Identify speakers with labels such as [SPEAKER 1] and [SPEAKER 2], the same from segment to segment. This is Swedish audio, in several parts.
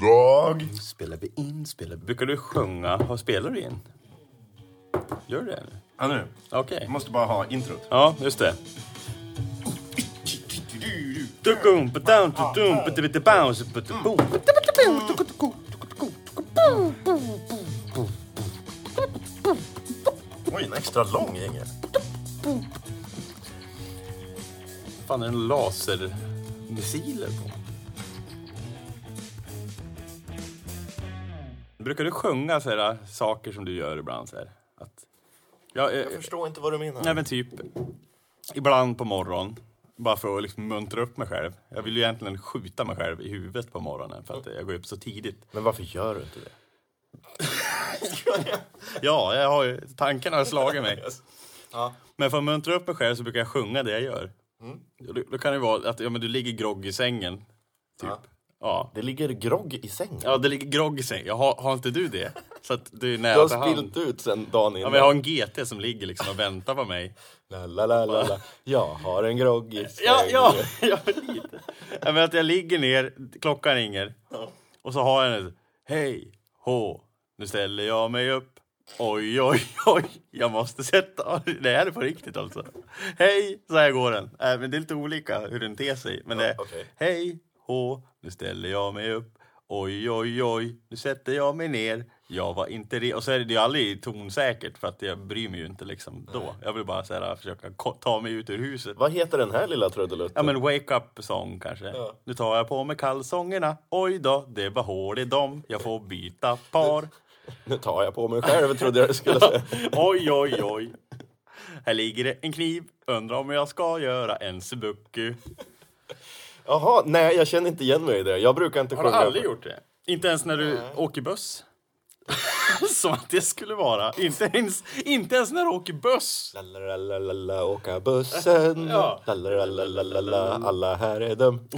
[SPEAKER 1] jag.
[SPEAKER 2] Spelar vi in, spelar vi... Brukar du sjunga? Vad spelar du in? Gör du det? eller?
[SPEAKER 1] Ja, nu.
[SPEAKER 2] Okej.
[SPEAKER 1] Jag måste bara ha introt.
[SPEAKER 2] Ja, just det.
[SPEAKER 1] Oj, en extra lång jingel.
[SPEAKER 2] fan är det lasermissiler på? Brukar du sjunga så här, äh, saker som du gör ibland? Så här? Att, ja, eh,
[SPEAKER 1] Jag förstår inte vad du menar.
[SPEAKER 2] Nej men typ, ibland på morgonen, bara för att liksom muntra upp mig själv. Jag vill ju egentligen skjuta mig själv i huvudet på morgonen för att jag går upp så tidigt.
[SPEAKER 1] Men varför gör du inte det?
[SPEAKER 2] Ja, jag har ju, tanken har slagit mig.
[SPEAKER 1] Typ.
[SPEAKER 2] Men för att muntra upp mig själv så brukar jag sjunga det jag gör.
[SPEAKER 1] Mm.
[SPEAKER 2] Då, då kan det vara att ja, men du ligger grogg i sängen, typ. Ja. Ja.
[SPEAKER 1] Det ligger grogg i sängen.
[SPEAKER 2] det ligger grogg i sängen. Ja, har, har inte du det? Så att du är nära
[SPEAKER 1] Du har
[SPEAKER 2] till hand.
[SPEAKER 1] spillt ut sen dagen
[SPEAKER 2] Ja,
[SPEAKER 1] innan.
[SPEAKER 2] men jag har en GT som ligger liksom och väntar på mig.
[SPEAKER 1] La, la, la, la, la. Jag har en grogg i sängen.
[SPEAKER 2] Ja, ja, ja men lite. Ja, men att jag ligger ner, klockan ringer. Och så har jag den. Hej, hå, nu ställer jag mig upp. Oj, oj, oj, jag måste sätta... Det här är på riktigt alltså. Hej, så här går den. Äh, men det är lite olika hur den ter sig. Men det är,
[SPEAKER 1] okej.
[SPEAKER 2] Hej, hå, nu ställer jag mig upp. Oj, oj, oj, nu sätter jag mig ner. Jag var inte re... Och så är det ju aldrig tonsäkert för att jag bryr mig ju inte liksom då. Jag vill bara så här, försöka ko- ta mig ut ur huset.
[SPEAKER 1] Vad heter den här lilla trudelutten?
[SPEAKER 2] Ja men wake up sång kanske. Nu tar jag på mig kalsongerna. Oj då, det var hål i dem. Jag får byta par.
[SPEAKER 1] Nu tar jag på mig själv, trodde jag du skulle säga.
[SPEAKER 2] Oj, oj, oj. Här ligger det en kniv. Undrar om jag ska göra en sudoku.
[SPEAKER 1] Jaha, nej, jag känner inte igen mig i det. Jag brukar inte
[SPEAKER 2] Har du
[SPEAKER 1] sjunga.
[SPEAKER 2] aldrig gjort det? Inte ens när du åker buss? Som att det skulle vara. Inte ens, inte ens när du åker buss.
[SPEAKER 1] La, la, la, la, la, åka bussen.
[SPEAKER 2] Ja.
[SPEAKER 1] La, la, la, la, la, la, la, alla här är dum.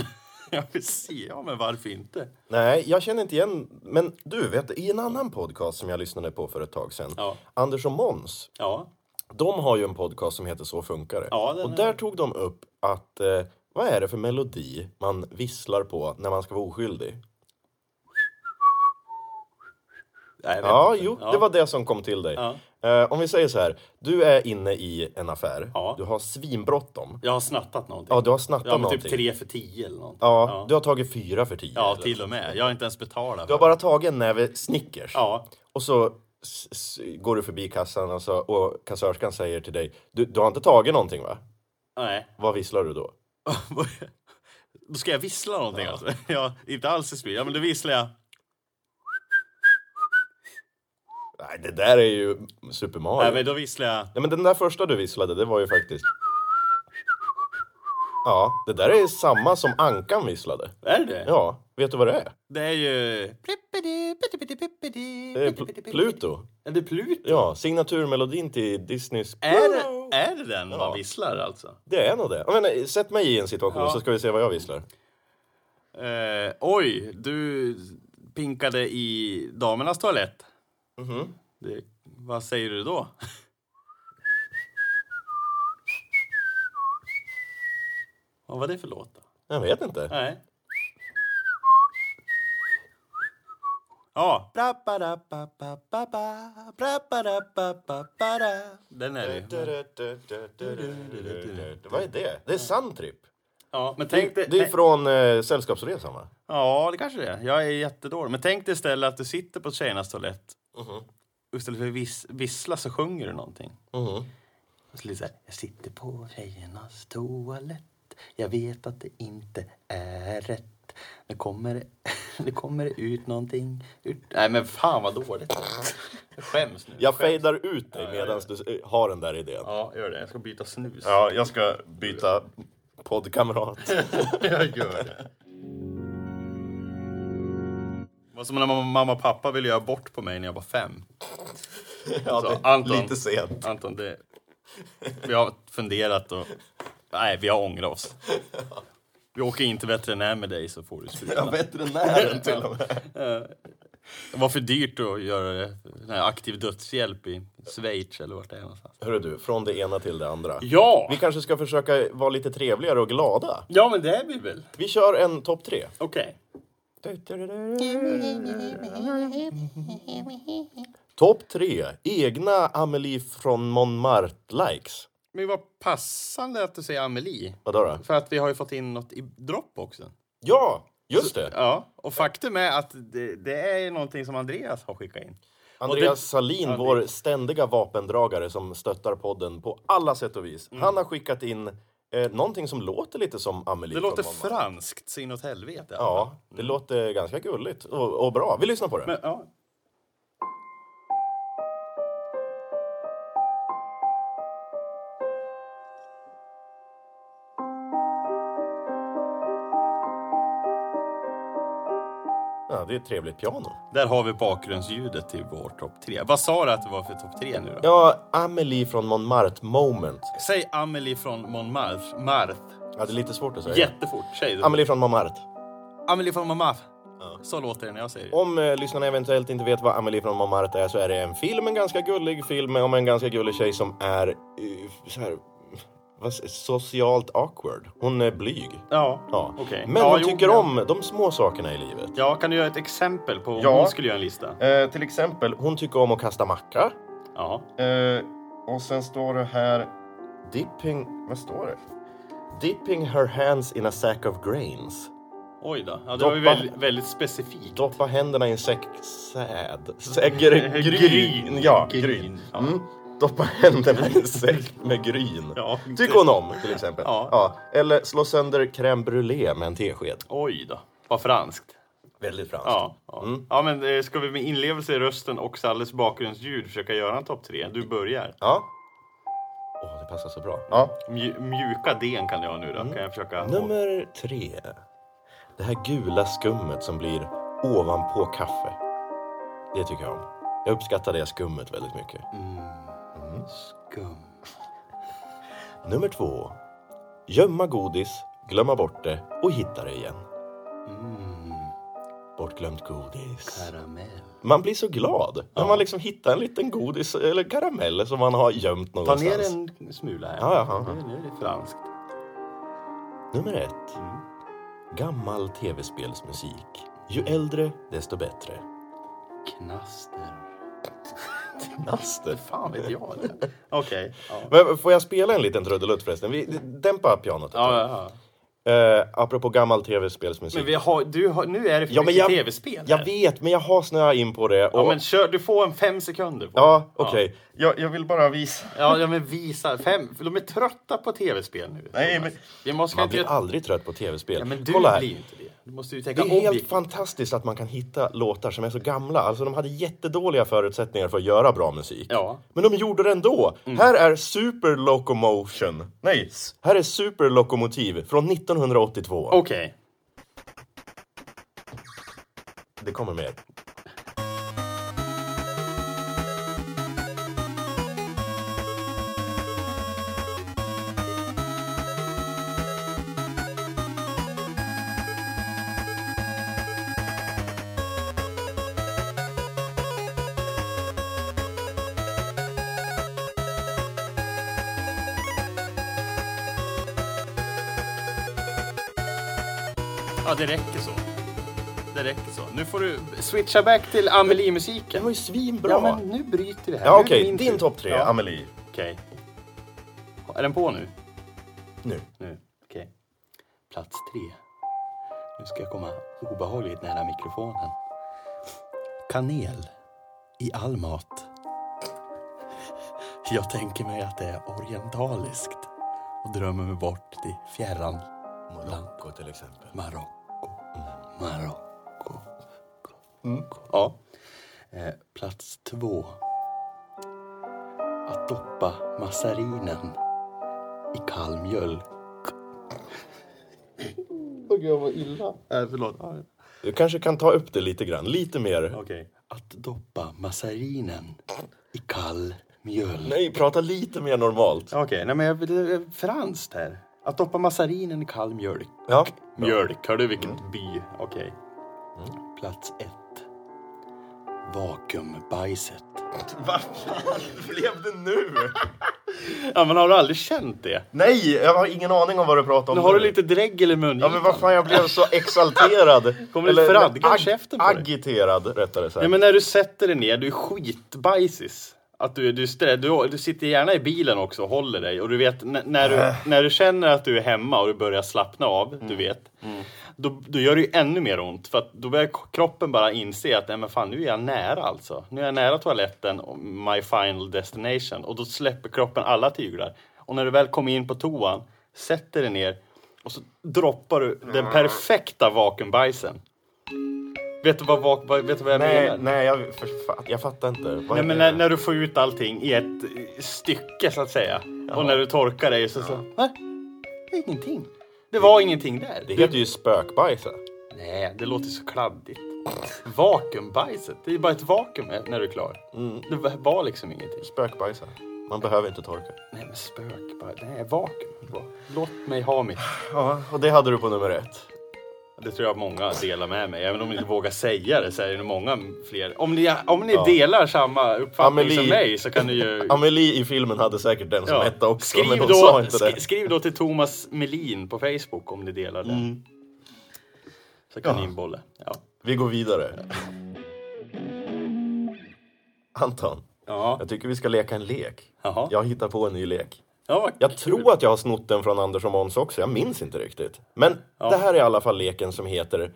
[SPEAKER 2] Ja, precis. Ja, men varför inte?
[SPEAKER 1] Nej, jag känner inte igen... Men du, vet du, i en annan podcast som jag lyssnade på för ett tag sedan,
[SPEAKER 2] Ja.
[SPEAKER 1] Anders och Måns,
[SPEAKER 2] Ja.
[SPEAKER 1] de har ju en podcast som heter Så funkar det.
[SPEAKER 2] Ja, den
[SPEAKER 1] och
[SPEAKER 2] är-
[SPEAKER 1] där tog de upp att eh, vad är det för melodi man visslar på när man ska vara oskyldig?
[SPEAKER 2] Nej, jag vet
[SPEAKER 1] Ja,
[SPEAKER 2] inte.
[SPEAKER 1] jo, det var det som kom till dig.
[SPEAKER 2] Ja.
[SPEAKER 1] Eh, om vi säger så här, du är inne i en affär,
[SPEAKER 2] Ja.
[SPEAKER 1] du har svinbråttom,
[SPEAKER 2] Jag har snattat någonting.
[SPEAKER 1] ja, du har snattat
[SPEAKER 2] Ja, men
[SPEAKER 1] någonting.
[SPEAKER 2] typ tre för tio eller något.
[SPEAKER 1] Ja, du har tagit fyra för tio.
[SPEAKER 2] Ja,
[SPEAKER 1] eller?
[SPEAKER 2] till och med. Jag har inte ens betalat.
[SPEAKER 1] Du har bara tagit en näve Snickers.
[SPEAKER 2] Ja,
[SPEAKER 1] Och så s- s- går du förbi kassan och, så, och kassörskan säger till dig, du, du har inte tagit någonting va?
[SPEAKER 2] nej.
[SPEAKER 1] Vad visslar du då?
[SPEAKER 2] Då ska jag vissla någonting alltså. Ja, inte alls i speed. Ja, men då visslar jag.
[SPEAKER 1] Nej, det där är ju Super Mario.
[SPEAKER 2] Nej, men då visslar jag.
[SPEAKER 1] Nej, men den där första du visslade, det var ju faktiskt... Ja, det där är samma som Ankan visslade.
[SPEAKER 2] Är det det?
[SPEAKER 1] Ja, vet du vad det är?
[SPEAKER 2] Det är ju...
[SPEAKER 1] Det är pl- Pluto.
[SPEAKER 2] Är det Pluto?
[SPEAKER 1] Ja, signaturmelodin till Disneys...
[SPEAKER 2] Är det, är det den man visslar alltså?
[SPEAKER 1] Det är nog det. Jag menar, sätt mig i en situation så ska vi se vad jag visslar.
[SPEAKER 2] Eh, oj, du pinkade i damernas toalett. Mhm. Det, vad säger du då? Vad var det för låt? Då?
[SPEAKER 1] Jag vet inte.
[SPEAKER 2] Nej. Ja. Den är det.
[SPEAKER 1] Vad är det? Det är Sandtrip.
[SPEAKER 2] Ja, men tänk dig...
[SPEAKER 1] Det är från eh, Sällskapsresan va?
[SPEAKER 2] Ja, det kanske det är. Jag är jättedålig. Men tänk dig istället att du sitter på tjejernas toalett. Och Istället för att vis- vissla så sjunger du någonting. Och så lite så här, jag sitter på tjejernas toalett. Jag vet att det inte är rätt. Nu kommer det, nu kommer det ut någonting. Ut. Nej men fan vad dåligt. Jag skäms nu.
[SPEAKER 1] Jag fejdar ut dig medan du eh, har den där idén.
[SPEAKER 2] Ja, gör det. Jag ska byta snus.
[SPEAKER 1] Ja, jag ska byta poddkamrat.
[SPEAKER 2] jag gör det. Det var som när mamma- mamma och pappa ville göra bort på mig när jag var fem.
[SPEAKER 1] Ja,
[SPEAKER 2] Så, Anton.
[SPEAKER 1] Lite sent.
[SPEAKER 2] Anton, det... vi har funderat och... Nej, vi har ångrat oss. Vi åker in till veterinär med dig så får du sprutan.
[SPEAKER 1] Veterinären till och med.
[SPEAKER 2] Det var för dyrt att göra det. Den här aktiv dödshjälp i Schweiz eller vart det är någonstans.
[SPEAKER 1] Hörru du, från det ena till det andra.
[SPEAKER 2] Ja!
[SPEAKER 1] Vi kanske ska försöka vara lite trevligare och glada.
[SPEAKER 2] Ja, men det är vi väl.
[SPEAKER 1] Vi kör en topp tre.
[SPEAKER 2] Okej.
[SPEAKER 1] Topp tre. Egna Amelie från Montmartre-likes.
[SPEAKER 2] Men vad passande att du säger Amelie.
[SPEAKER 1] Vadå då?
[SPEAKER 2] För att vi har ju fått in något i dropboxen.
[SPEAKER 1] Ja, just det.
[SPEAKER 2] Ja, och faktum är att det, det är ju någonting som Andreas har skickat in.
[SPEAKER 1] Andreas Salin, vår ständiga vapendragare som stöttar podden på alla sätt och vis.
[SPEAKER 2] Mm.
[SPEAKER 1] Han har skickat in eh, någonting som låter lite som Amelie
[SPEAKER 2] Det
[SPEAKER 1] från
[SPEAKER 2] låter
[SPEAKER 1] Montmartre.
[SPEAKER 2] franskt så inåt helvete.
[SPEAKER 1] Ja, det låter ganska gulligt och, och bra. Vi lyssnar på det.
[SPEAKER 2] Men, ja.
[SPEAKER 1] Ja, det är ett trevligt piano.
[SPEAKER 2] Där har vi bakgrundsljudet till vår topp tre. Vad sa du att det var för topp tre nu då?
[SPEAKER 1] Ja, Amelie från Montmartre Moment.
[SPEAKER 2] Säg Amelie från Montmartre. Marth.
[SPEAKER 1] Ja, det är lite svårt att säga.
[SPEAKER 2] Jättefort. Säg det.
[SPEAKER 1] Amelie från Montmartre.
[SPEAKER 2] Amelie från Montmartre. Så låter det när jag säger det.
[SPEAKER 1] Om eh, lyssnarna eventuellt inte vet vad Amelie från Montmartre är så är det en film, en ganska gullig film om en ganska gullig tjej som är eh, så här, vad, s- socialt awkward. Hon är blyg.
[SPEAKER 2] Ja,
[SPEAKER 1] Ja.
[SPEAKER 2] okej.
[SPEAKER 1] Men
[SPEAKER 2] ja,
[SPEAKER 1] hon
[SPEAKER 2] jo,
[SPEAKER 1] tycker
[SPEAKER 2] men-
[SPEAKER 1] om de små sakerna i livet.
[SPEAKER 2] Ja, kan du göra ett exempel på om
[SPEAKER 1] Ja.
[SPEAKER 2] hon skulle göra en lista?
[SPEAKER 1] Eh, till exempel, hon tycker om att kasta macka.
[SPEAKER 2] Ja.
[SPEAKER 1] Eh, och sen står det här... Dipping... Vad står det? Dipping her hands in a sack of grains.
[SPEAKER 2] Oj då. Ja, det var ju
[SPEAKER 1] Doppa-
[SPEAKER 2] väldigt, väldigt specifikt.
[SPEAKER 1] Doppa händerna i en säck säd. Säck gryn.
[SPEAKER 2] Gryn.
[SPEAKER 1] Ja,
[SPEAKER 2] Gryn.
[SPEAKER 1] gryn.
[SPEAKER 2] Ja.
[SPEAKER 1] Mm. Doppa händerna i en säck med gryn.
[SPEAKER 2] Ja.
[SPEAKER 1] Tycker hon om till exempel.
[SPEAKER 2] Ja.
[SPEAKER 1] Eller slå sönder crème brûlée med en tesked.
[SPEAKER 2] Oj då. Vad franskt.
[SPEAKER 1] Väldigt franskt.
[SPEAKER 2] Ja, ja. ja men eh, ska vi med inlevelse i rösten och Salles bakgrundsljud försöka göra en topp tre? Du börjar.
[SPEAKER 1] Ja. Åh, det passar så bra. Ja.
[SPEAKER 2] Mju- mjuka den kan jag nu då. Kan jag försöka...
[SPEAKER 1] Nummer tre. Det här gula skummet som blir ovanpå kaffe. Det tycker jag om. Jag uppskattar det skummet väldigt mycket.
[SPEAKER 2] Skum.
[SPEAKER 1] Nummer två. Gömma godis, glömma bort det och hitta det igen.
[SPEAKER 2] Mm.
[SPEAKER 1] Bortglömt godis.
[SPEAKER 2] Karamell.
[SPEAKER 1] Man blir så glad när man liksom hittar en liten godis eller karamell som man har gömt
[SPEAKER 2] Ta
[SPEAKER 1] någonstans.
[SPEAKER 2] ner en smula här.
[SPEAKER 1] Ja, ja, ja, ja.
[SPEAKER 2] Nu- Nu är det franskt.
[SPEAKER 1] Nummer ett.
[SPEAKER 2] Mm.
[SPEAKER 1] Gammal tv-spelsmusik. Ju äldre, desto bättre.
[SPEAKER 2] Knaster.
[SPEAKER 1] Aster.
[SPEAKER 2] Fan vet jag det. Okej. Ja.
[SPEAKER 1] Men får jag spela en liten trudelutt förresten? Vi, dämpa pianot.
[SPEAKER 2] Ja, ja, ja.
[SPEAKER 1] Eh, apropå gammal
[SPEAKER 2] Men
[SPEAKER 1] tv-spelsmusik.
[SPEAKER 2] vi har, du har, nu är det för
[SPEAKER 1] Ja, men
[SPEAKER 2] mycket
[SPEAKER 1] jag-
[SPEAKER 2] tv-spel här.
[SPEAKER 1] Jag vet, men jag har snöat in på det. Och...
[SPEAKER 2] Ja, men kör, du får en fem sekunder. På.
[SPEAKER 1] Ja, okej. Jag, vill bara visa.
[SPEAKER 2] Ja, ja, men visa. Fem, för de är trötta på tv-spel nu.
[SPEAKER 1] Nej, men-
[SPEAKER 2] Vi måste
[SPEAKER 1] Man
[SPEAKER 2] kanske
[SPEAKER 1] blir
[SPEAKER 2] inte...
[SPEAKER 1] aldrig trött på tv-spel.
[SPEAKER 2] Ja, men du
[SPEAKER 1] Kolla här.
[SPEAKER 2] blir ju inte det. Du måste ju
[SPEAKER 1] Det
[SPEAKER 2] tänka
[SPEAKER 1] är helt
[SPEAKER 2] objektivt.
[SPEAKER 1] fantastiskt att man kan hitta låtar som är så gamla. Alltså de hade jättedåliga förutsättningar för att göra bra musik.
[SPEAKER 2] Ja. Mm.
[SPEAKER 1] Men de gjorde det ändå. Här är Super Locomotion. Nej. s- Här är Super Lokomotiv från 1982.
[SPEAKER 2] Okej.
[SPEAKER 1] Det kommer mer.
[SPEAKER 2] Ja, det räcker så. Det räcker så. Nu får du switcha back till Amelie-musiken.
[SPEAKER 1] Det var ju svinbra.
[SPEAKER 2] Ja, men nu bryter vi här.
[SPEAKER 1] Ja,
[SPEAKER 2] Nu är
[SPEAKER 1] okej.
[SPEAKER 2] det min
[SPEAKER 1] Din
[SPEAKER 2] tur.
[SPEAKER 1] topp tre,
[SPEAKER 2] Ja,
[SPEAKER 1] Amelie.
[SPEAKER 2] Okej. Är den på nu?
[SPEAKER 1] Nu.
[SPEAKER 2] Nu. Okej. Plats tre. Nu ska jag komma obehagligt nära mikrofonen. Kanel i all mat. Jag tänker mig att det är orientaliskt och drömmer mig bort till fjärran
[SPEAKER 1] Monaco till exempel.
[SPEAKER 2] Marocko. Mm. Marocko. Mm. Ja. Eh, plats två. Att doppa massarinen i kall mjölk. Åh gud vad illa. Nej Eh, förlåt.
[SPEAKER 1] Du kanske kan ta upp det lite grann. Lite mer.
[SPEAKER 2] Okej. Att doppa massarinen i kall mjölk.
[SPEAKER 1] Nej, prata lite mer normalt.
[SPEAKER 2] Okej, nej men jag, det är franskt här. Att doppa massarinen i kall mjölk.
[SPEAKER 1] Ja.
[SPEAKER 2] Mjölk, hör du vilken by? Okej. Plats ett. Vakuumbajset.
[SPEAKER 1] Vad fan blev det nu?
[SPEAKER 2] Ja, men har du aldrig känt det?
[SPEAKER 1] Nej, jag har ingen aning om vad du pratar om.
[SPEAKER 2] Nu har du
[SPEAKER 1] nu.
[SPEAKER 2] lite dregel i munnen.
[SPEAKER 1] Ja, men vad fan, jag blev så exalterad.
[SPEAKER 2] Kommer det fradga i käften på dig?
[SPEAKER 1] Agiterad, rättare sagt.
[SPEAKER 2] Ja, men när du sätter dig ner, du är skitbajsis. Att du, du, strä- du, du sitter gärna i bilen också och håller dig. Och du vet, n- när,
[SPEAKER 1] Äh.
[SPEAKER 2] du, när du känner att du är hemma och du börjar slappna av,
[SPEAKER 1] Mm.
[SPEAKER 2] du vet. Då, då gör det ju ännu mer ont. För att då börjar k- kroppen bara inse att nej, men fan, nu är jag nära alltså. Nu är jag nära toaletten, och my final destination. Och då släpper kroppen alla tyglar. Och när du väl kommer in på toan, sätter dig ner och så droppar du
[SPEAKER 1] Mm.
[SPEAKER 2] den perfekta vakuumbajsen. Vet du vad, vak- vad, vet du vad jag menar?
[SPEAKER 1] Nej, nej jag, för, fa- jag fattar inte. Vad
[SPEAKER 2] Nej,
[SPEAKER 1] är
[SPEAKER 2] men
[SPEAKER 1] det?
[SPEAKER 2] när, när du får ut allting i ett eh, stycke så att säga. Och när du torkar dig så, så Va? Det är ingenting. Det var ingenting där.
[SPEAKER 1] Det heter ju spökbajsa.
[SPEAKER 2] Nej, det låter så kladdigt. Vakuumbajset, det är bara ett vakuum när du är klar. Det var- var liksom ingenting.
[SPEAKER 1] Spökbajsa. Man behöver inte torka.
[SPEAKER 2] Nej men spök bara. Nej, vakuum. Va- Låt mig ha mitt.
[SPEAKER 1] Ja, och det hade du på nummer ett.
[SPEAKER 2] Det tror jag många delar med mig. Även om ni inte vågar säga det så är det nog många fler. Om ni, om ni delar samma uppfattning
[SPEAKER 1] Amelie-
[SPEAKER 2] som mig så kan ni ju
[SPEAKER 1] Amelie i filmen hade säkert den som
[SPEAKER 2] Ja.
[SPEAKER 1] etta också,
[SPEAKER 2] skriv,
[SPEAKER 1] men hon
[SPEAKER 2] då,
[SPEAKER 1] sa inte
[SPEAKER 2] sk-
[SPEAKER 1] det.
[SPEAKER 2] skriv då till Thomas Melin på Facebook om ni delar det.
[SPEAKER 1] Mm.
[SPEAKER 2] Så kan ni inbolla. Ja.
[SPEAKER 1] Vi går vidare. Anton,
[SPEAKER 2] Ja.
[SPEAKER 1] jag tycker vi ska leka en lek.
[SPEAKER 2] Jaha.
[SPEAKER 1] Jag hittar på en ny lek.
[SPEAKER 2] Ja, vad
[SPEAKER 1] Jag
[SPEAKER 2] kul.
[SPEAKER 1] tror att jag har snott den från Anders och Måns också, jag minns inte riktigt. Men det här är i alla fall leken som heter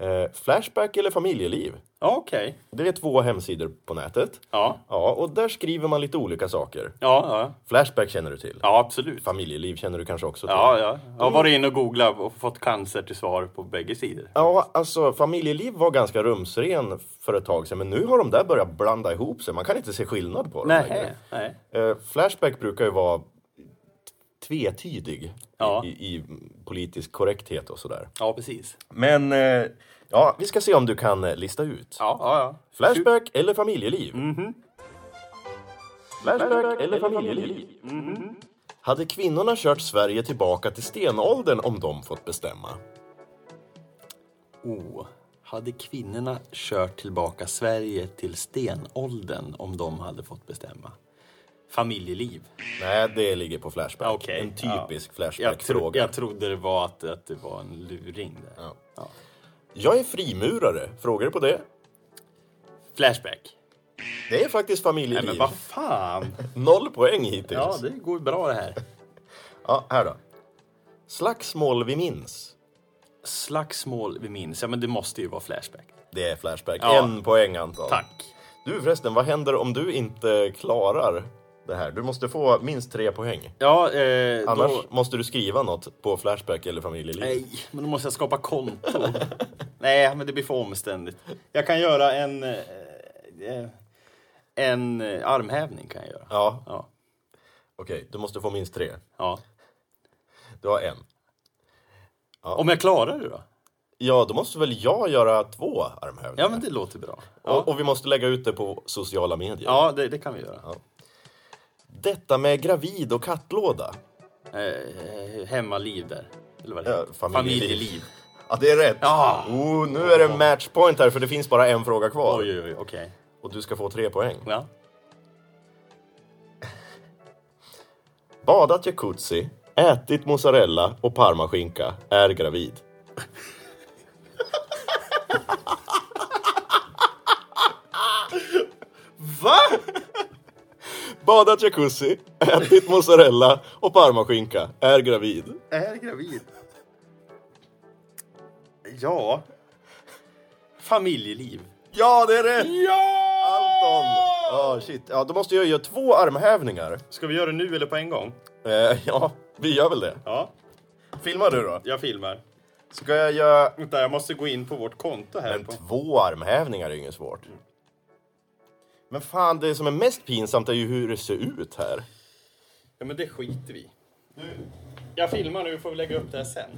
[SPEAKER 1] eh, Flashback eller familjeliv.
[SPEAKER 2] Ja, okej.
[SPEAKER 1] Det är två hemsidor på nätet.
[SPEAKER 2] Ja.
[SPEAKER 1] Ja, och där skriver man lite olika saker.
[SPEAKER 2] Ja, ja.
[SPEAKER 1] Flashback känner du till.
[SPEAKER 2] ja, absolut.
[SPEAKER 1] Familjeliv känner du kanske också till.
[SPEAKER 2] Ja, ja. Jag har varit inne och googlat och fått cancer till svar på bägge sidor.
[SPEAKER 1] Ja, alltså familjeliv var ganska rumsren för ett tag sedan, men nu har de där börjat blanda ihop sig. Man kan inte se skillnad på dem
[SPEAKER 2] Nej, nej.
[SPEAKER 1] längre. Eh, flashback brukar ju vara tvetydig
[SPEAKER 2] Ja.
[SPEAKER 1] i, i politisk korrekthet och sådär.
[SPEAKER 2] Ja, precis.
[SPEAKER 1] Men eh, ja, vi ska se om du kan eh, lista ut.
[SPEAKER 2] Ja, Mhm. ja, ja.
[SPEAKER 1] Flashback eller familjeliv? Flashback eller familjeliv?
[SPEAKER 2] Mhm.
[SPEAKER 1] Hade kvinnorna kört Sverige tillbaka till stenåldern om de fått bestämma?
[SPEAKER 2] Oh. Hade kvinnorna kört tillbaka Sverige till stenåldern om de hade fått bestämma? Familjeliv.
[SPEAKER 1] Nej, det ligger på Flashback.
[SPEAKER 2] Okej,
[SPEAKER 1] en typisk
[SPEAKER 2] Jag, tro,
[SPEAKER 1] Flashback-fråga. Jag,
[SPEAKER 2] jag trodde det var att, att det var en luring där.
[SPEAKER 1] är frimurare. Frågar du på det?
[SPEAKER 2] Flashback.
[SPEAKER 1] Det är faktiskt
[SPEAKER 2] Nej
[SPEAKER 1] familjeliv.
[SPEAKER 2] men vad fan!
[SPEAKER 1] Noll poäng hittills.
[SPEAKER 2] Ja, det går bra det här.
[SPEAKER 1] Ja, här då. Slagsmål vi minns.
[SPEAKER 2] Slagsmål vi minns, ja men det måste ju vara Flashback.
[SPEAKER 1] Det är Flashback.
[SPEAKER 2] Ja.
[SPEAKER 1] En poäng, Anton.
[SPEAKER 2] Tack!
[SPEAKER 1] Du förresten, vad händer om du inte klarar det här? Du måste få minst tre poäng.
[SPEAKER 2] Ja, eh,
[SPEAKER 1] Annars
[SPEAKER 2] då...
[SPEAKER 1] måste du skriva något på Flashback eller familjeliv.
[SPEAKER 2] Nej, men då måste jag skapa konto. Nej, men det blir för omständigt. Jag kan göra en... eh, eh, En eh, armhävning kan jag göra.
[SPEAKER 1] Ja,
[SPEAKER 2] Ja.
[SPEAKER 1] okej. Du måste få minst tre.
[SPEAKER 2] ja.
[SPEAKER 1] Du har en.
[SPEAKER 2] Om jag klarar det då?
[SPEAKER 1] Ja, då måste väl jag göra två armhävningar?
[SPEAKER 2] Ja, men det låter bra.
[SPEAKER 1] och, och vi måste lägga ut det på sociala medier.
[SPEAKER 2] Ja, det, det kan vi göra.
[SPEAKER 1] Detta med gravid och kattlåda.
[SPEAKER 2] Eh, hemmaliv där. Eller vad det
[SPEAKER 1] Ja,
[SPEAKER 2] heter.
[SPEAKER 1] familjeliv.
[SPEAKER 2] Familjeliv.
[SPEAKER 1] Ja, det är rätt.
[SPEAKER 2] Ja.
[SPEAKER 1] Oh, nu är det matchpoint här, för det finns bara en fråga kvar.
[SPEAKER 2] Oj, oj, oj, okej.
[SPEAKER 1] Och du ska få tre poäng.
[SPEAKER 2] Ja.
[SPEAKER 1] Badat jacuzzi, ätit mozzarella och parmaskinka, är gravid.
[SPEAKER 2] Va?
[SPEAKER 1] Badat jacuzzi, ätit mozzarella och parmaskinka, är gravid.
[SPEAKER 2] Är gravid? Ja. Familjeliv.
[SPEAKER 1] Ja, det är rätt!
[SPEAKER 2] Ja!
[SPEAKER 1] Anton! Ja, shit. Ja, då måste jag göra två armhävningar.
[SPEAKER 2] Ska vi göra det nu eller på en gång?
[SPEAKER 1] Eh, ja, vi gör väl det.
[SPEAKER 2] Ja,
[SPEAKER 1] Filmar du då?
[SPEAKER 2] jag filmar.
[SPEAKER 1] Ska jag göra...
[SPEAKER 2] Vänta, jag måste gå in på vårt konto här.
[SPEAKER 1] Men
[SPEAKER 2] på.
[SPEAKER 1] två armhävningar är ju inget svårt. Men fan, det som är mest pinsamt är ju hur det ser ut här.
[SPEAKER 2] Ja, men det skiter vi i. Nu. Jag filmar nu, får vi lägga upp det här sen.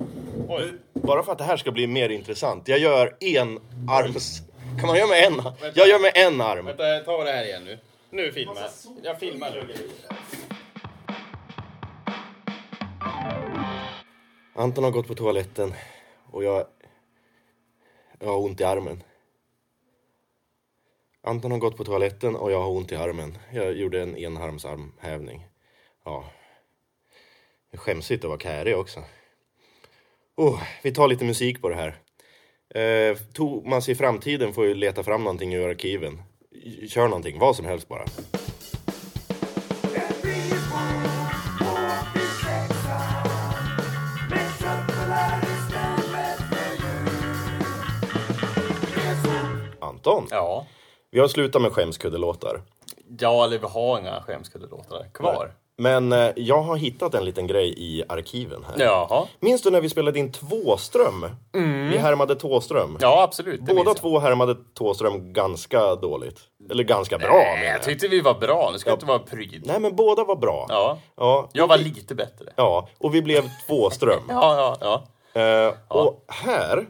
[SPEAKER 2] Oj,
[SPEAKER 1] Bara för att det här ska bli mer intressant. Jag gör en arms... Kan man göra med en? Jag gör med en arm.
[SPEAKER 2] vänta, jag tar det här igen nu. Nu filmar jag. Jag filmar nu.
[SPEAKER 1] Anton har gått på toaletten och jag... Jag har ont i armen. Anton har gått på toaletten och jag har ont i armen. Jag gjorde en enarmsarmhävning. Ja. Det är Skämsigt att vara kärig också. Oh, vi tar lite musik på det här. Eh, Thomas i framtiden får ju leta fram någonting ur arkiven. Kör någonting, vad som helst bara. Anton,
[SPEAKER 2] Ja.
[SPEAKER 1] vi har slutat med skämskuddelåtar.
[SPEAKER 2] Ja, eller vi har inga skämskuddelåtar kvar.
[SPEAKER 1] Men eh, jag har hittat en liten grej i arkiven här.
[SPEAKER 2] Jaha.
[SPEAKER 1] Minns du när vi spelade in Tvåström? Vi härmade Tåström.
[SPEAKER 2] Mm. Ja, absolut. det minns
[SPEAKER 1] Båda
[SPEAKER 2] jag.
[SPEAKER 1] två härmade Tåström ganska dåligt. Eller ganska bra menar
[SPEAKER 2] Nej, jag
[SPEAKER 1] jag.
[SPEAKER 2] tyckte vi var bra. Nu ska jag inte vara pryd.
[SPEAKER 1] Nej men båda var bra.
[SPEAKER 2] Ja.
[SPEAKER 1] Ja,
[SPEAKER 2] Jag var lite bättre.
[SPEAKER 1] ja. och vi blev Tvåström.
[SPEAKER 2] Ja, ja, ja.
[SPEAKER 1] Eh, Och här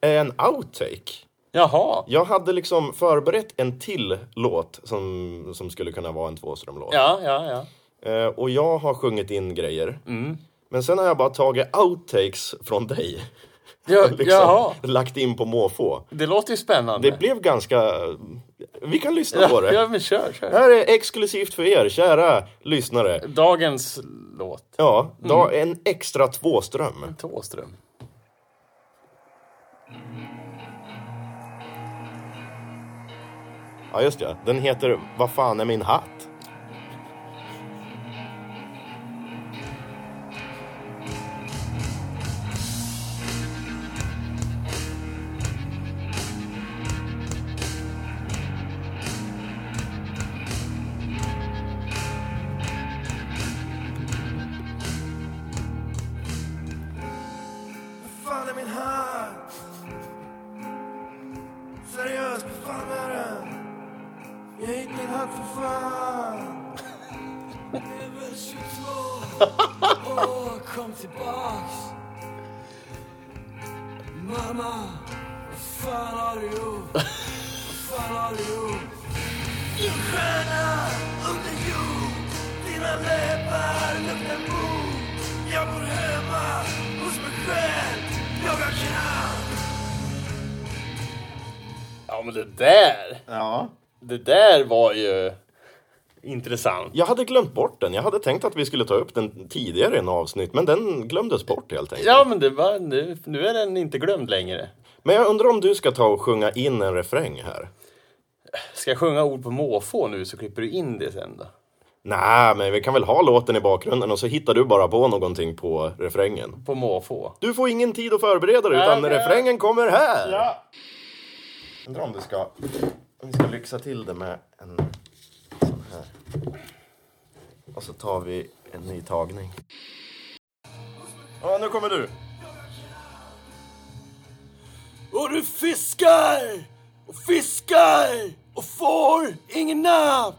[SPEAKER 1] är en outtake.
[SPEAKER 2] Jaha.
[SPEAKER 1] Jag hade liksom förberett en till låt som, som skulle kunna vara en Tvåström-låt.
[SPEAKER 2] Ja, ja, ja.
[SPEAKER 1] Eh, och jag har sjungit in grejer.
[SPEAKER 2] Mm.
[SPEAKER 1] Men sen har jag bara tagit outtakes från dig.
[SPEAKER 2] ja
[SPEAKER 1] liksom,
[SPEAKER 2] Jaha.
[SPEAKER 1] Lagt in på måfå.
[SPEAKER 2] Det låter ju spännande.
[SPEAKER 1] Det blev ganska... eh, Vi kan lyssna på det.
[SPEAKER 2] Ja, men kör, kör.
[SPEAKER 1] Här är exklusivt för er, kära lyssnare.
[SPEAKER 2] Dagens låt.
[SPEAKER 1] Ja, da, en extra tvåström.
[SPEAKER 2] Thåström.
[SPEAKER 1] Ja, just det. Den heter Vad fan är min hatt?
[SPEAKER 3] fan är min hatt? Seriöst, vad fan är den? Jag hitt min hatt för fan. Det är väl 22. Åh, kom tillbaks. Mamma, vad fan har du gjort? Vad fan har du gjort? Din stjärna under jord Dina läppar luktar blod Jag bor hemma hos mig själv Jag har kallt
[SPEAKER 2] Ja, men det där.
[SPEAKER 1] Ja.
[SPEAKER 2] Det där var ju intressant.
[SPEAKER 1] Jag hade glömt bort den. Jag hade tänkt att vi skulle ta upp den tidigare i en avsnitt, men den glömdes bort helt enkelt.
[SPEAKER 2] Ja, men det var, nu, nu är den inte glömd längre.
[SPEAKER 1] Men jag undrar om du ska ta och sjunga in en refräng här?
[SPEAKER 2] Ska jag sjunga ord på måfå nu så klipper du in det sen då?
[SPEAKER 1] Nej, men vi kan väl ha låten i bakgrunden och så hittar du bara på någonting på refrängen.
[SPEAKER 2] På måfå.
[SPEAKER 1] Du får ingen tid att förbereda dig, utan
[SPEAKER 2] Nej, men-
[SPEAKER 1] refrängen kommer här!
[SPEAKER 2] Ja.
[SPEAKER 1] Undrar om du ska, om vi ska lyxa till det med en sån här. Och så tar vi en ny tagning. Ja, nu kommer du.
[SPEAKER 3] Och du fiskar och fiskar och får ingen napp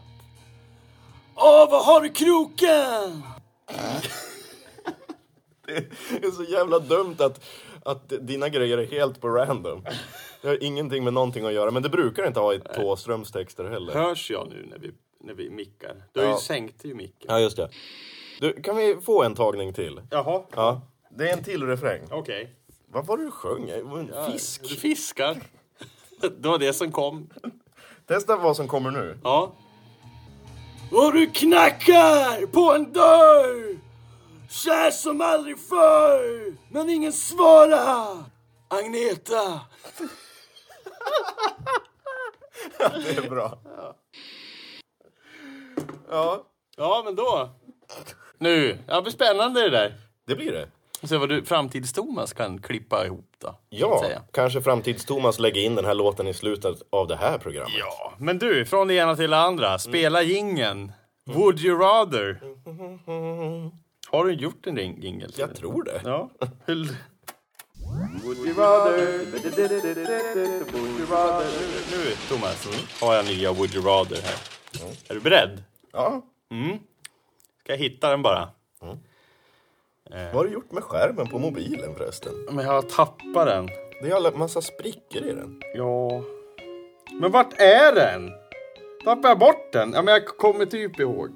[SPEAKER 3] Åh, vad har du i kroken?
[SPEAKER 1] Det är så jävla dumt att, att dina grejer är helt på random. Det har ingenting med någonting att göra, men det brukar inte ha i Thåströms texter heller.
[SPEAKER 2] Hörs jag nu när vi, när vi mickar? Du har
[SPEAKER 1] Ja.
[SPEAKER 2] ju sänkt ju micken.
[SPEAKER 1] Ja, just det. Du, kan vi få en tagning till?
[SPEAKER 2] Jaha,
[SPEAKER 1] Ja. Det är en till refräng.
[SPEAKER 2] okej.
[SPEAKER 1] Vad var det du sjöng? Det var en Fisk?
[SPEAKER 2] Du fiskar. Det var det som kom.
[SPEAKER 1] Testa vad som kommer nu.
[SPEAKER 2] Ja.
[SPEAKER 3] Och du knackar på en dörr Kär som aldrig förr Men ingen svarar Agneta
[SPEAKER 1] Det är bra. Ja,
[SPEAKER 2] Ja, men då. Nu. Ja, det blir spännande det där.
[SPEAKER 1] det blir det.
[SPEAKER 2] Se vad du, framtids-Thomas kan klippa ihop då. kan jag
[SPEAKER 1] Ja,
[SPEAKER 2] säga.
[SPEAKER 1] kanske Framtids-Thomas lägger in den här låten i slutet av det här programmet.
[SPEAKER 2] Ja, Mm. men du, från det ena till det andra. Spela gingen. Would you rather? Har du gjort en ring- jingle? till
[SPEAKER 1] Jag
[SPEAKER 2] det?
[SPEAKER 1] tror det.
[SPEAKER 2] Ja. Hur- Nu, Thomas, har jag nya Would you rather här. Är du beredd?
[SPEAKER 1] Ja.
[SPEAKER 2] Ska jag hitta den bara?
[SPEAKER 1] Vad har du gjort med skärmen på mobilen förresten?
[SPEAKER 2] Men jag tappar den.
[SPEAKER 1] Det är alla massa sprickor i den.
[SPEAKER 2] Ja. Men vart är den? Tappar jag bort den? Ja, men jag kommer typ ihåg.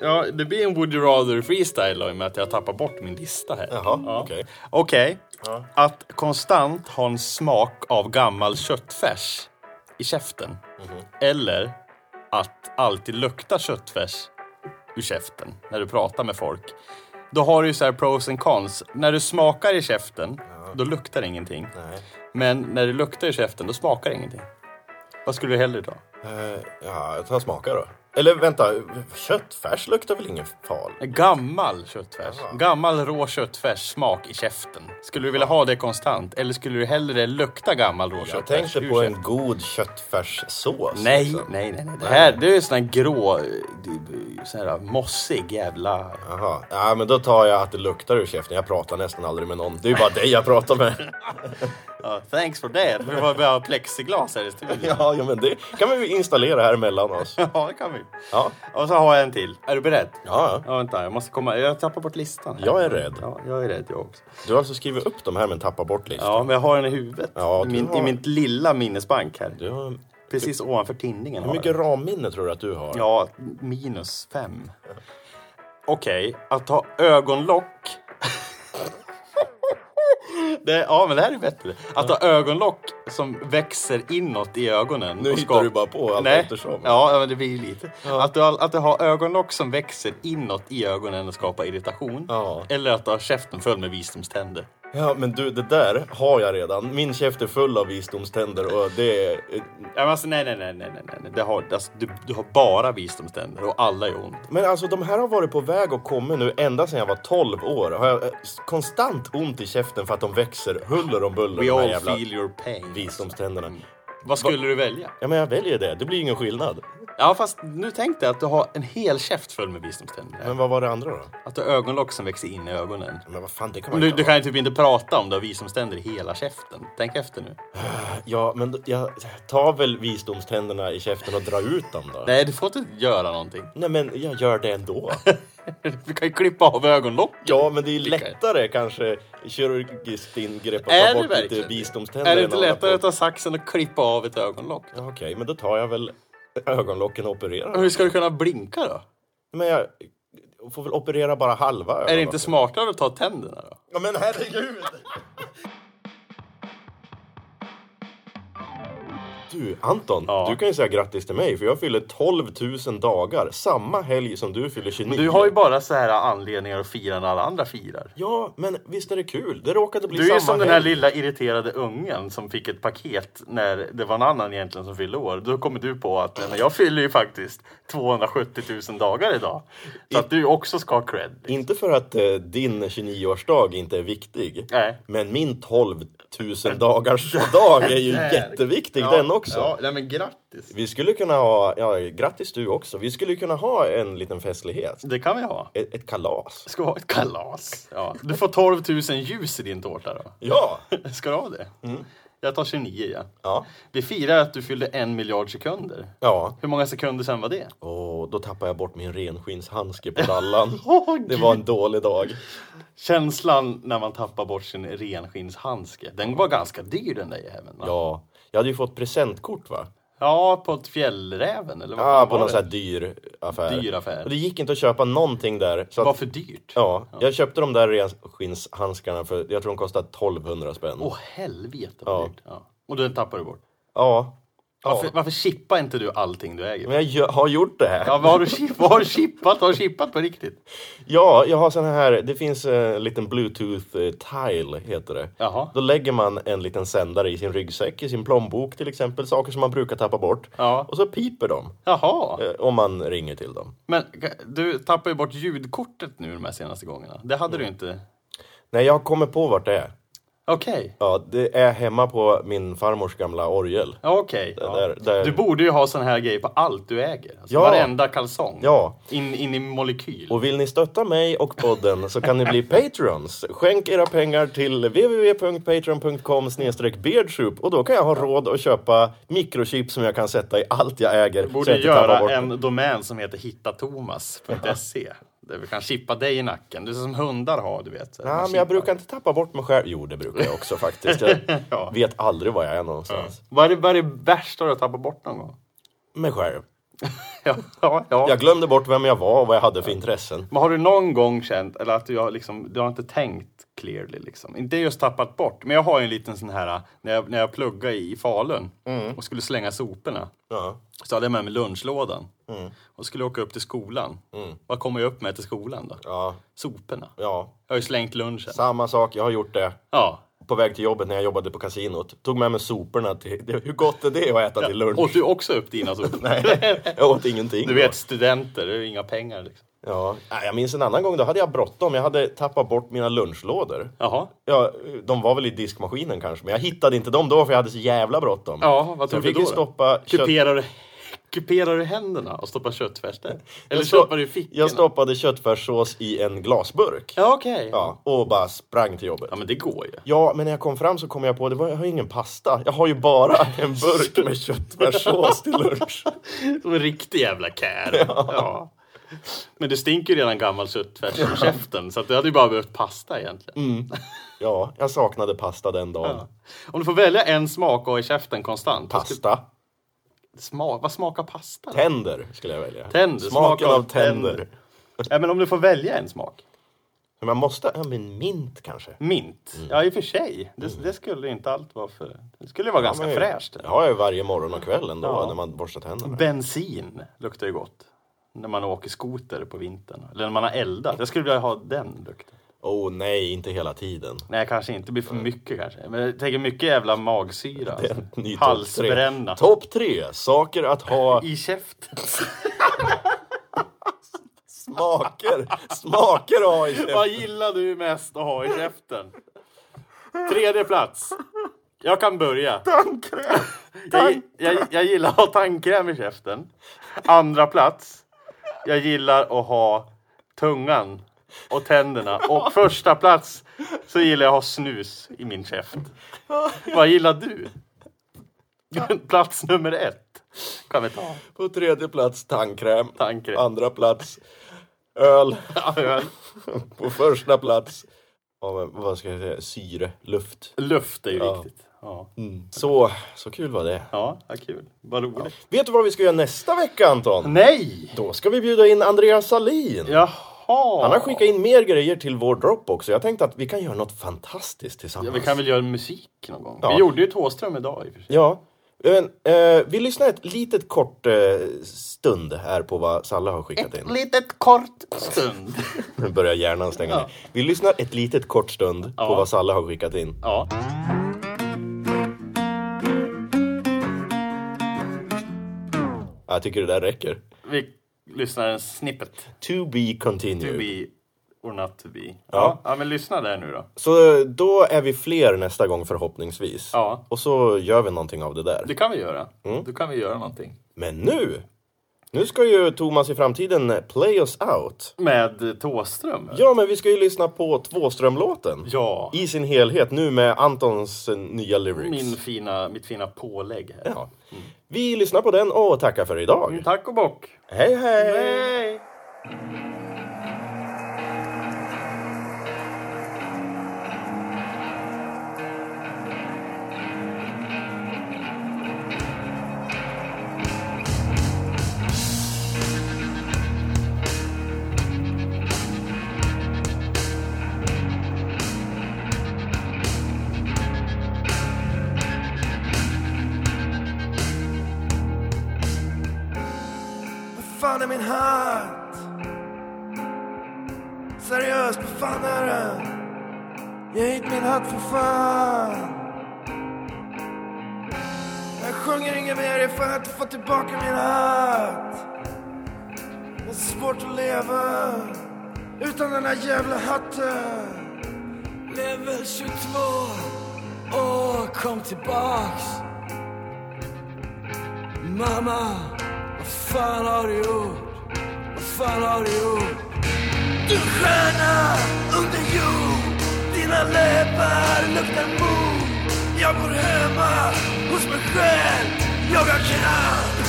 [SPEAKER 2] Ja, det blir en Would you rather freestyle då, i och med att jag tappar bort min lista här.
[SPEAKER 1] Jaha,
[SPEAKER 2] ja.
[SPEAKER 1] okej.
[SPEAKER 2] Okej. Att konstant ha en smak av gammal köttfärs
[SPEAKER 1] Mhm.
[SPEAKER 2] i käften. Eller att alltid lukta köttfärs ur käften när du pratar med folk. Då har du ju så här pros and cons. När du smakar i käften, då luktar det ingenting.
[SPEAKER 1] Nej.
[SPEAKER 2] Men när det luktar i käften, då smakar det ingenting. Vad skulle du hellre ta?
[SPEAKER 1] Eh, ja, jag tar smaka då. Eller vänta, köttfärs luktar väl ingen farligt?
[SPEAKER 2] Gammal köttfärs. Gammal rå köttfärs smak i käften. Skulle du vilja ha det konstant? Eller skulle du hellre lukta gammal rå
[SPEAKER 1] Jag
[SPEAKER 2] köttfärs
[SPEAKER 1] tänkte
[SPEAKER 2] ur
[SPEAKER 1] på
[SPEAKER 2] käften?
[SPEAKER 1] en god köttfärssås.
[SPEAKER 2] Nej,
[SPEAKER 1] liksom.
[SPEAKER 2] nej, Alltså, nej, nej. Det här det är sån här grå, eh, det- sån här mossig jävla...
[SPEAKER 1] Jaha, ja, men då tar jag att det luktar ur käften. Jag pratar nästan aldrig med någon. Det är ju bara dig jag pratar med.
[SPEAKER 2] Ja, thanks for that. Vi har bara plexiglas här i studion. Ja.
[SPEAKER 1] Ja, ja, men det kan vi installera här mellan oss.
[SPEAKER 2] det kan vi.
[SPEAKER 1] Ja,
[SPEAKER 2] Och så har jag en till. Är du beredd?
[SPEAKER 1] ja. ja.
[SPEAKER 2] Ja, vänta, jag måste komma. Jag tappar bort listan. här.
[SPEAKER 1] Jag är rädd.
[SPEAKER 2] Ja, jag är rädd jag också.
[SPEAKER 1] Du har alltså skrivit upp de här men tappat bort listan.
[SPEAKER 2] Ja, men jag har den i huvudet.
[SPEAKER 1] Ja,
[SPEAKER 2] I
[SPEAKER 1] du
[SPEAKER 2] min, I
[SPEAKER 1] har-
[SPEAKER 2] mitt lilla minnesbank här.
[SPEAKER 1] Du har...
[SPEAKER 2] Precis ovanför tinningen.
[SPEAKER 1] Hur
[SPEAKER 2] har jag
[SPEAKER 1] mycket ramminne tror du att du har?
[SPEAKER 2] Ja, minus fem. Okej, att ha ögonlock. det, ja, men det här är bättre. Att ha ögonlock som växer inåt i ögonen.
[SPEAKER 1] Nu
[SPEAKER 2] och
[SPEAKER 1] hittar du bara på allt eftersom.
[SPEAKER 2] Ja, ja, men det blir ju lite. Att, du, har- att du har ögonlock som växer inåt i ögonen och skapar irritation.
[SPEAKER 1] Ja.
[SPEAKER 2] Eller att du har käften full med visdomständer.
[SPEAKER 1] Ja, men du, det där har jag redan. Min käft är full av visdomständer och det är...
[SPEAKER 2] Ja, men alltså, nej, nej, nej, nej, nej, nej. Det har, alltså, du, du har bara visdomständer och alla är ont.
[SPEAKER 1] Men alltså de här har varit på väg och kommit nu ända sedan jag var 12 år. Har jag eh, konstant ont i käften för att de växer huller om buller.
[SPEAKER 2] We
[SPEAKER 1] de här
[SPEAKER 2] all
[SPEAKER 1] jävla
[SPEAKER 2] feel your pain.
[SPEAKER 1] visdomständerna.
[SPEAKER 2] Vad skulle du välja?
[SPEAKER 1] Ja, men jag väljer det. Det blir ingen skillnad.
[SPEAKER 2] Ja, fast nu tänkte jag att du har en hel käft full med visdomständer.
[SPEAKER 1] Men vad var det andra då?
[SPEAKER 2] Att du har ögonlock som växer in i ögonen.
[SPEAKER 1] Men vad fan, det kan man
[SPEAKER 2] Men du,
[SPEAKER 1] inte
[SPEAKER 2] du
[SPEAKER 1] ha.
[SPEAKER 2] kan ju typ inte prata om du har visdomständer i hela käften. Tänk efter nu.
[SPEAKER 1] Ja, men då- jag tar väl visdomständerna i käften och drar ut dem då. Nej,
[SPEAKER 2] Nej, du får inte göra någonting.
[SPEAKER 1] men jag gör det ändå.
[SPEAKER 2] Du kan ju klippa av ögonlock.
[SPEAKER 1] Ja, men det är ju
[SPEAKER 2] Klickar.
[SPEAKER 1] lättare kanske kirurgiskt ingrepp att ta
[SPEAKER 2] Är det
[SPEAKER 1] bort lite
[SPEAKER 2] verkligen?
[SPEAKER 1] visdomständer.
[SPEAKER 2] Är det
[SPEAKER 1] än
[SPEAKER 2] inte
[SPEAKER 1] hålla
[SPEAKER 2] lättare
[SPEAKER 1] på-
[SPEAKER 2] att ta saxen och klippa av ett ögonlock?
[SPEAKER 1] Ja, Okej, men då tar jag väl ögonlocken och opererar.
[SPEAKER 2] Hur ska du kunna blinka då?
[SPEAKER 1] Men jag får väl operera bara halva
[SPEAKER 2] Är det
[SPEAKER 1] ögonlocken.
[SPEAKER 2] inte smartare att ta tänderna då?
[SPEAKER 1] Ja, men herregud! Du, Anton,
[SPEAKER 2] Ja.
[SPEAKER 1] du kan ju säga grattis till mig för jag fyller 12 000 dagar samma helg som du fyller 29.
[SPEAKER 2] Du har ju bara så här anledningar att fira när alla andra firar.
[SPEAKER 1] Ja, men visst är det kul? Det råkade bli
[SPEAKER 2] Du är
[SPEAKER 1] samma
[SPEAKER 2] ju som den här
[SPEAKER 1] helg.
[SPEAKER 2] lilla irriterade ungen som fick ett paket när det var en annan egentligen som fyllde år. Då kommer du på att "Nej, men jag fyller ju faktiskt 270 000 dagar idag. Så att du också ska ha cred.
[SPEAKER 1] Inte för att eh, din 29-årsdag inte är viktig.
[SPEAKER 2] Nej.
[SPEAKER 1] Men min 12 000 dagars dag är ju jätteviktig den också.
[SPEAKER 2] Ja, nej men grattis.
[SPEAKER 1] Vi skulle kunna ha, ja grattis du också, vi skulle kunna ha en liten festlighet.
[SPEAKER 2] Det kan vi ha.
[SPEAKER 1] Ett, ett kalas.
[SPEAKER 2] Ska ha ett kalas. Ja. Du får 12 000 ljus i din tårta då.
[SPEAKER 1] Ja!
[SPEAKER 2] Ska du ha det?
[SPEAKER 1] Mm.
[SPEAKER 2] Jag tar 29 ja.
[SPEAKER 1] Ja.
[SPEAKER 2] Vi firar att du fyllde en miljard sekunder.
[SPEAKER 1] Ja.
[SPEAKER 2] Hur många sekunder sen var det?
[SPEAKER 1] Och då tappade jag bort min renskinshandske på dallan.
[SPEAKER 2] Åh,
[SPEAKER 1] Det var en dålig dag.
[SPEAKER 2] Känslan när man tappar bort sin renskinshandske. Den var ganska dyr den där jäveln. va?
[SPEAKER 1] Ja. Jag hade ju fått presentkort va?
[SPEAKER 2] Ja, på ett fjällräven eller vad
[SPEAKER 1] Ja,
[SPEAKER 2] fan
[SPEAKER 1] på
[SPEAKER 2] var
[SPEAKER 1] någon
[SPEAKER 2] det?
[SPEAKER 1] sån här dyr affär.
[SPEAKER 2] Dyr affär.
[SPEAKER 1] Och det gick inte att köpa någonting där. Så
[SPEAKER 2] Det
[SPEAKER 1] att,
[SPEAKER 2] var för dyrt. Åh
[SPEAKER 1] Ja, jag köpte de där renskinshandskarna för jag tror de kostade 1200 spänn.
[SPEAKER 2] helvete vad
[SPEAKER 1] Ja.
[SPEAKER 2] dyrt. Ja. Och den tappar du bort.
[SPEAKER 1] Ja. ja.
[SPEAKER 2] Varför, varför chippar inte du allting du äger?
[SPEAKER 1] Men jag gö- har gjort det här.
[SPEAKER 2] Ja,
[SPEAKER 1] Ja.
[SPEAKER 2] vad har du chippat? Vad har du chippat? Har du chippat på riktigt?
[SPEAKER 1] jag har sån här, det finns eh, en liten bluetooth eh, tile heter det.
[SPEAKER 2] Jaha.
[SPEAKER 1] Då lägger man en liten sändare i sin ryggsäck, i sin plånbok till exempel, saker som man brukar tappa bort.
[SPEAKER 2] Ja.
[SPEAKER 1] Och så piper de,
[SPEAKER 2] Jaha.
[SPEAKER 1] eh, om man ringer till dem.
[SPEAKER 2] Men du tappar ju bort ljudkortet nu de här senaste gångerna. Det hade
[SPEAKER 1] Mm.
[SPEAKER 2] du inte.
[SPEAKER 1] Nej, jag kommer på vart det är.
[SPEAKER 2] Okej.
[SPEAKER 1] Ja, det är hemma på min farmors gamla orgel.
[SPEAKER 2] Ja, Okej. Ja.
[SPEAKER 1] där- där-
[SPEAKER 2] Du borde ju ha sån här grej på allt du äger. Alltså
[SPEAKER 1] Ja.
[SPEAKER 2] Varenda kalsong.
[SPEAKER 1] Ja.
[SPEAKER 2] In, in i molekyl.
[SPEAKER 1] Och vill ni stötta mig och podden så kan ni bli patrons. Skänk era pengar till www.patreon.com beardsoup och då kan jag ha råd att köpa mikrochip som jag kan sätta i allt jag äger. så
[SPEAKER 2] borde
[SPEAKER 1] jag inte tappar bort
[SPEAKER 2] göra
[SPEAKER 1] det.
[SPEAKER 2] en domän som heter hittatomas.se. Där vi kan chippa dig i nacken. Det är som hundar har, du vet.
[SPEAKER 1] Nej, men jag brukar inte tappa bort mig själv. Jo, det brukar jag också faktiskt. Jag
[SPEAKER 2] Ja.
[SPEAKER 1] vet aldrig var jag är någonstans.
[SPEAKER 2] Vad är det, vad är det värsta du har tappat bort någon gång?
[SPEAKER 1] Mig själv.
[SPEAKER 2] ja, ja, ja.
[SPEAKER 1] Jag glömde bort vem jag var och vad jag hade för intressen.
[SPEAKER 2] Men har du någon gång känt, eller att du har, liksom, du har inte tänkt clearly liksom? Inte just tappat bort, men jag har ju en liten sån här, när jag, när jag pluggade i Falun och skulle slänga soporna.
[SPEAKER 1] Mm. Ja. Mm.
[SPEAKER 2] Så hade jag med mig lunchlådan och skulle åka upp till skolan. Vad kommer jag upp med till skolan då?
[SPEAKER 1] Ja,
[SPEAKER 2] Soporna.
[SPEAKER 1] ja.
[SPEAKER 2] Jag har ju slängt lunchen.
[SPEAKER 1] Samma sak, jag har gjort det.
[SPEAKER 2] Ja.
[SPEAKER 1] På väg till jobbet när jag jobbade på kasinot. Tog med mig soporna till... Hur gott är det att äta till lunch?
[SPEAKER 2] Åt du också upp dina sopor?
[SPEAKER 1] Jag åt ingenting.
[SPEAKER 2] Du vet, studenter, det är ju inga pengar liksom.
[SPEAKER 1] Ja. Nej, Jag minns en annan gång, då hade jag bråttom. Jag hade tappat bort mina lunchlådor.
[SPEAKER 2] Jaha.
[SPEAKER 1] Ja, de var väl i diskmaskinen kanske, men jag hittade inte dem då för jag hade så jävla bråttom.
[SPEAKER 2] Ja, vad
[SPEAKER 1] Så jag
[SPEAKER 2] tog du
[SPEAKER 1] fick
[SPEAKER 2] då?
[SPEAKER 1] ju
[SPEAKER 2] då?
[SPEAKER 1] stoppa kött...
[SPEAKER 2] kuperar, du, kuperar du händerna och stoppar köttfärser? Eller
[SPEAKER 1] Jag stopp-
[SPEAKER 2] stoppar du i fickorna?
[SPEAKER 1] Jag stoppade köttfärssås i en glasburk.
[SPEAKER 2] Ja, okej. Ja.
[SPEAKER 1] Ja, och bara sprang till jobbet.
[SPEAKER 2] men det går ju.
[SPEAKER 1] Ja, men när jag kom fram så kom jag på det var, jag har ju ingen pasta. Jag har ju bara en burk med köttfärssås till lunch.
[SPEAKER 2] Som en riktig jävla kär. Ja. Men det stinker ju redan gammal köttfärs ur käften så att du hade ju bara behövt pasta egentligen.
[SPEAKER 1] Mm. Ja, jag saknade pasta den dagen.
[SPEAKER 2] Om du får välja en smak och ha i käften konstant. vad skulle-
[SPEAKER 1] Pasta.
[SPEAKER 2] Smak, vad smakar pasta? då?
[SPEAKER 1] Tänder skulle jag välja.
[SPEAKER 2] Tänder,
[SPEAKER 1] Smaken
[SPEAKER 2] smak
[SPEAKER 1] av tänder.
[SPEAKER 2] Ja, men om du får välja en smak.
[SPEAKER 1] Men man måste, ja men mint kanske.
[SPEAKER 2] Mint.
[SPEAKER 1] Mm.
[SPEAKER 2] Ja, i och för sig. Det, det skulle inte allt vara för... Det skulle vara ganska
[SPEAKER 1] Ja, men-
[SPEAKER 2] fräscht.
[SPEAKER 1] Det har jag ju varje morgon och kväll ändå
[SPEAKER 2] Ja.
[SPEAKER 1] när man borstar tänderna.
[SPEAKER 2] Bensin luktar ju gott. När man åker skoter på vintern. Eller när man har eldat. Jag skulle vilja ha den lukten.
[SPEAKER 1] Åh oh, nej, inte hela tiden.
[SPEAKER 2] Nej, kanske inte. Det blir för mycket kanske. Men jag tänker mycket jävla magsyra.
[SPEAKER 1] Mm. Det är en ny
[SPEAKER 2] Alltså.
[SPEAKER 1] topp tre.
[SPEAKER 2] Halsbränna.
[SPEAKER 1] Topp tre saker att ha
[SPEAKER 2] I käften.
[SPEAKER 1] smaker. Smaker att ha i käften.
[SPEAKER 2] Vad gillar du mest att ha i käften? Tredje plats. Jag kan börja.
[SPEAKER 1] Tandkräm.
[SPEAKER 2] Jag, jag, jag gillar att ha tandkräm i käften. Andra plats. Jag gillar att ha tungan och tänderna. Och första plats så gillar jag att ha snus i min käft. Vad gillar du? Plats nummer ett kan vi ta.
[SPEAKER 1] På tredje plats tandkräm.
[SPEAKER 2] Tandkräm.
[SPEAKER 1] Andra plats öl.
[SPEAKER 2] Öl.
[SPEAKER 1] På första plats ja, men vad ska jag säga? syre, luft.
[SPEAKER 2] Luft är ju
[SPEAKER 1] Ja.
[SPEAKER 2] viktigt. Ja,
[SPEAKER 1] Så, så kul var det.
[SPEAKER 2] ja vad kul. Vad roligt.
[SPEAKER 1] Vet du vad vi ska göra nästa vecka Anton?
[SPEAKER 2] Nej!
[SPEAKER 1] Då ska vi bjuda in Andreas Salin.
[SPEAKER 2] Jaha!
[SPEAKER 1] Han har skickat in mer grejer till vår Dropbox så jag tänkte att vi kan göra något fantastiskt tillsammans.
[SPEAKER 2] Ja, vi kan väl göra musik någon gång?
[SPEAKER 1] Ja.
[SPEAKER 2] Vi gjorde ju Thåström idag i och för sig.
[SPEAKER 1] Ja. Men, eh, vi lyssnar ett litet kort eh, stund här på vad Salla har skickat in.
[SPEAKER 2] Litet kort stund.
[SPEAKER 1] Nu börjar hjärnan stänga
[SPEAKER 2] Ja.
[SPEAKER 1] ner. Vi lyssnar ett litet kort stund
[SPEAKER 2] Ja.
[SPEAKER 1] på vad Salla har skickat in.
[SPEAKER 2] Ja.
[SPEAKER 1] Ja, Jag tycker det där räcker.
[SPEAKER 2] Vi lyssnar en snippet.
[SPEAKER 1] To be continued.
[SPEAKER 2] To be or not to be. Ja.
[SPEAKER 1] Ja.
[SPEAKER 2] Ja. men lyssna där nu då.
[SPEAKER 1] Så eh, då är vi fler nästa gång förhoppningsvis.
[SPEAKER 2] Ja.
[SPEAKER 1] Och så gör vi någonting av det där.
[SPEAKER 2] Det kan vi göra. Då kan vi göra någonting.
[SPEAKER 1] Men nu! Nu ska ju Thomas i framtiden play us out.
[SPEAKER 2] Med eh, Tåström.
[SPEAKER 1] Ja, men vi ska ju lyssna på Tvåströmlåten.
[SPEAKER 2] Ja.
[SPEAKER 1] I sin helhet nu med Antons eh, nya lyrics.
[SPEAKER 2] Min fina, mitt fina pålägg här.
[SPEAKER 1] Ja. Vi lyssnar på den och tackar för idag.
[SPEAKER 2] Tack och bock.
[SPEAKER 1] Hej, hej!
[SPEAKER 2] Hej!
[SPEAKER 3] Vad fan är min hatt? Seriöst, vad fan är den? Ge hit min hatt för fan. Jag sjunger inget mer ifall jag inte får tillbaka min hatt. Det är svårt att leva utan den här jävla hatten. Level 22, åh kom tillbaks. Mamma, vad fan har du gjort? Vad fan har du gjort? Du stjärna under jord Dina läppar luktar mod Jag bor hemma hos mig själv Jag har kramp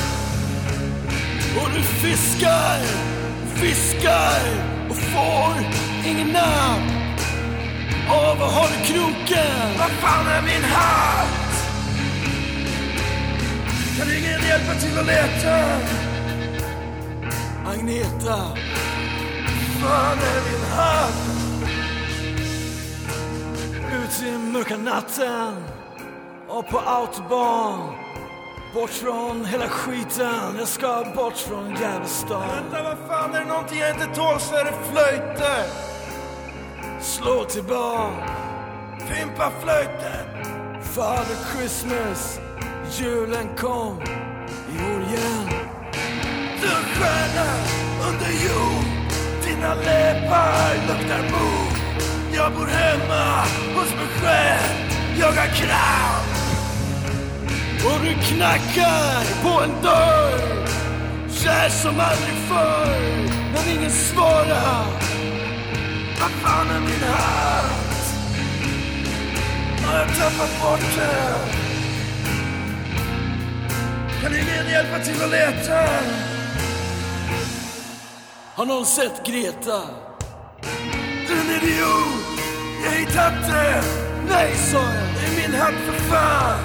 [SPEAKER 3] Och du fiskar, fiskar och får ingen napp Åh, vad har du kroken? Vad fan är min hatt? Kan ingen hjälpa till att leta? Agneta, fan är min hand? Ut i mörka natten och på autobahn. Bort från hela skiten, jag ska bort från Gävlestad.
[SPEAKER 4] Vänta, vad fan, är det någonting jag inte tål så är det flöjter!
[SPEAKER 3] Slå tillbaka,
[SPEAKER 4] Fimpa flöjten!
[SPEAKER 3] Father Christmas, julen kom i år igen.
[SPEAKER 4] Du stjärna under jord, dina läppar luktar mod. Jag bor hemma hos mig själv, jag har kram.
[SPEAKER 3] Och du knackar på en dörr Kär som aldrig förr Men ingen svarar
[SPEAKER 4] Vad fan är min hatt? Har jag tappat bort den? Kan ingen hjälpa till att leta?
[SPEAKER 3] Har någon sett Greta?
[SPEAKER 4] Du är en idiot, jag har hittat den.
[SPEAKER 3] Nej sa jag!
[SPEAKER 4] Det är min hatt för fan.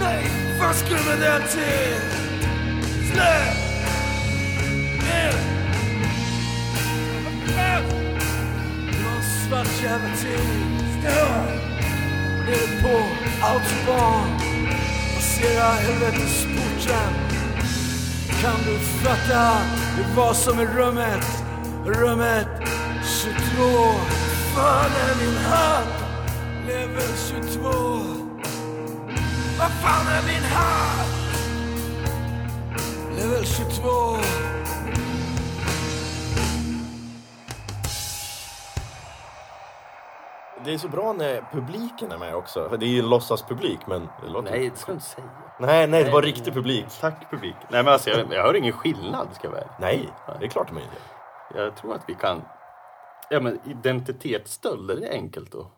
[SPEAKER 4] Nej, vad skulle den till? Släpp! Ner! Vad fan?
[SPEAKER 3] Det var en svart jävla ting
[SPEAKER 4] Ja,
[SPEAKER 3] Nere på autobahn Passera helvetesporten Kan du fatta det var som i rummet? Rummet 22
[SPEAKER 4] Fan är min hatt?
[SPEAKER 3] Level 22
[SPEAKER 4] Vad fan är min hatt?
[SPEAKER 3] Level 22
[SPEAKER 1] Det är så bra när publiken är med också. För Det är ju låtsas publik, men det låter...
[SPEAKER 2] Nej, det ska du inte säga.
[SPEAKER 1] nej, nej, det var riktig publik.
[SPEAKER 2] Tack publik. Nej, men alltså, jag, jag hör ingen skillnad, ska jag vara ärlig.
[SPEAKER 1] Nej, det är klart de inte
[SPEAKER 2] Jag tror att vi kan... Ja, men identitetsstöld, är det enkelt då?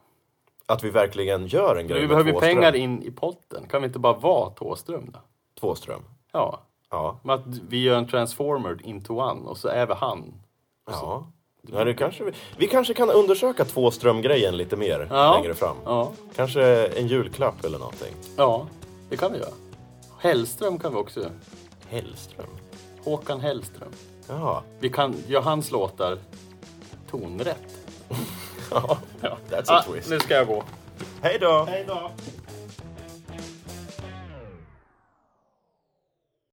[SPEAKER 1] Att vi verkligen gör en grej
[SPEAKER 2] Vi
[SPEAKER 1] med
[SPEAKER 2] behöver ju
[SPEAKER 1] Thåström.
[SPEAKER 2] pengar in i potten. Kan vi inte bara vara Thåström då?
[SPEAKER 1] Tvåström.
[SPEAKER 2] Ja,
[SPEAKER 1] Ja.
[SPEAKER 2] men att vi gör en transformer into one och så är vi han.
[SPEAKER 1] Ja. Ja, det kanske vi... vi kanske kan undersöka Tvåström-grejen lite mer
[SPEAKER 2] Ja.
[SPEAKER 1] längre fram.
[SPEAKER 2] Ja,
[SPEAKER 1] Kanske en julklapp eller någonting.
[SPEAKER 2] ja, det kan vi göra. Hellström kan vi också göra.
[SPEAKER 1] Hellström?
[SPEAKER 2] Håkan Hellström.
[SPEAKER 1] Ja.
[SPEAKER 2] Vi kan göra hans låtar tonrätt.
[SPEAKER 1] ja. That's a twist.
[SPEAKER 2] Ah, nu ska jag gå.
[SPEAKER 1] Hej då!
[SPEAKER 2] Hej då!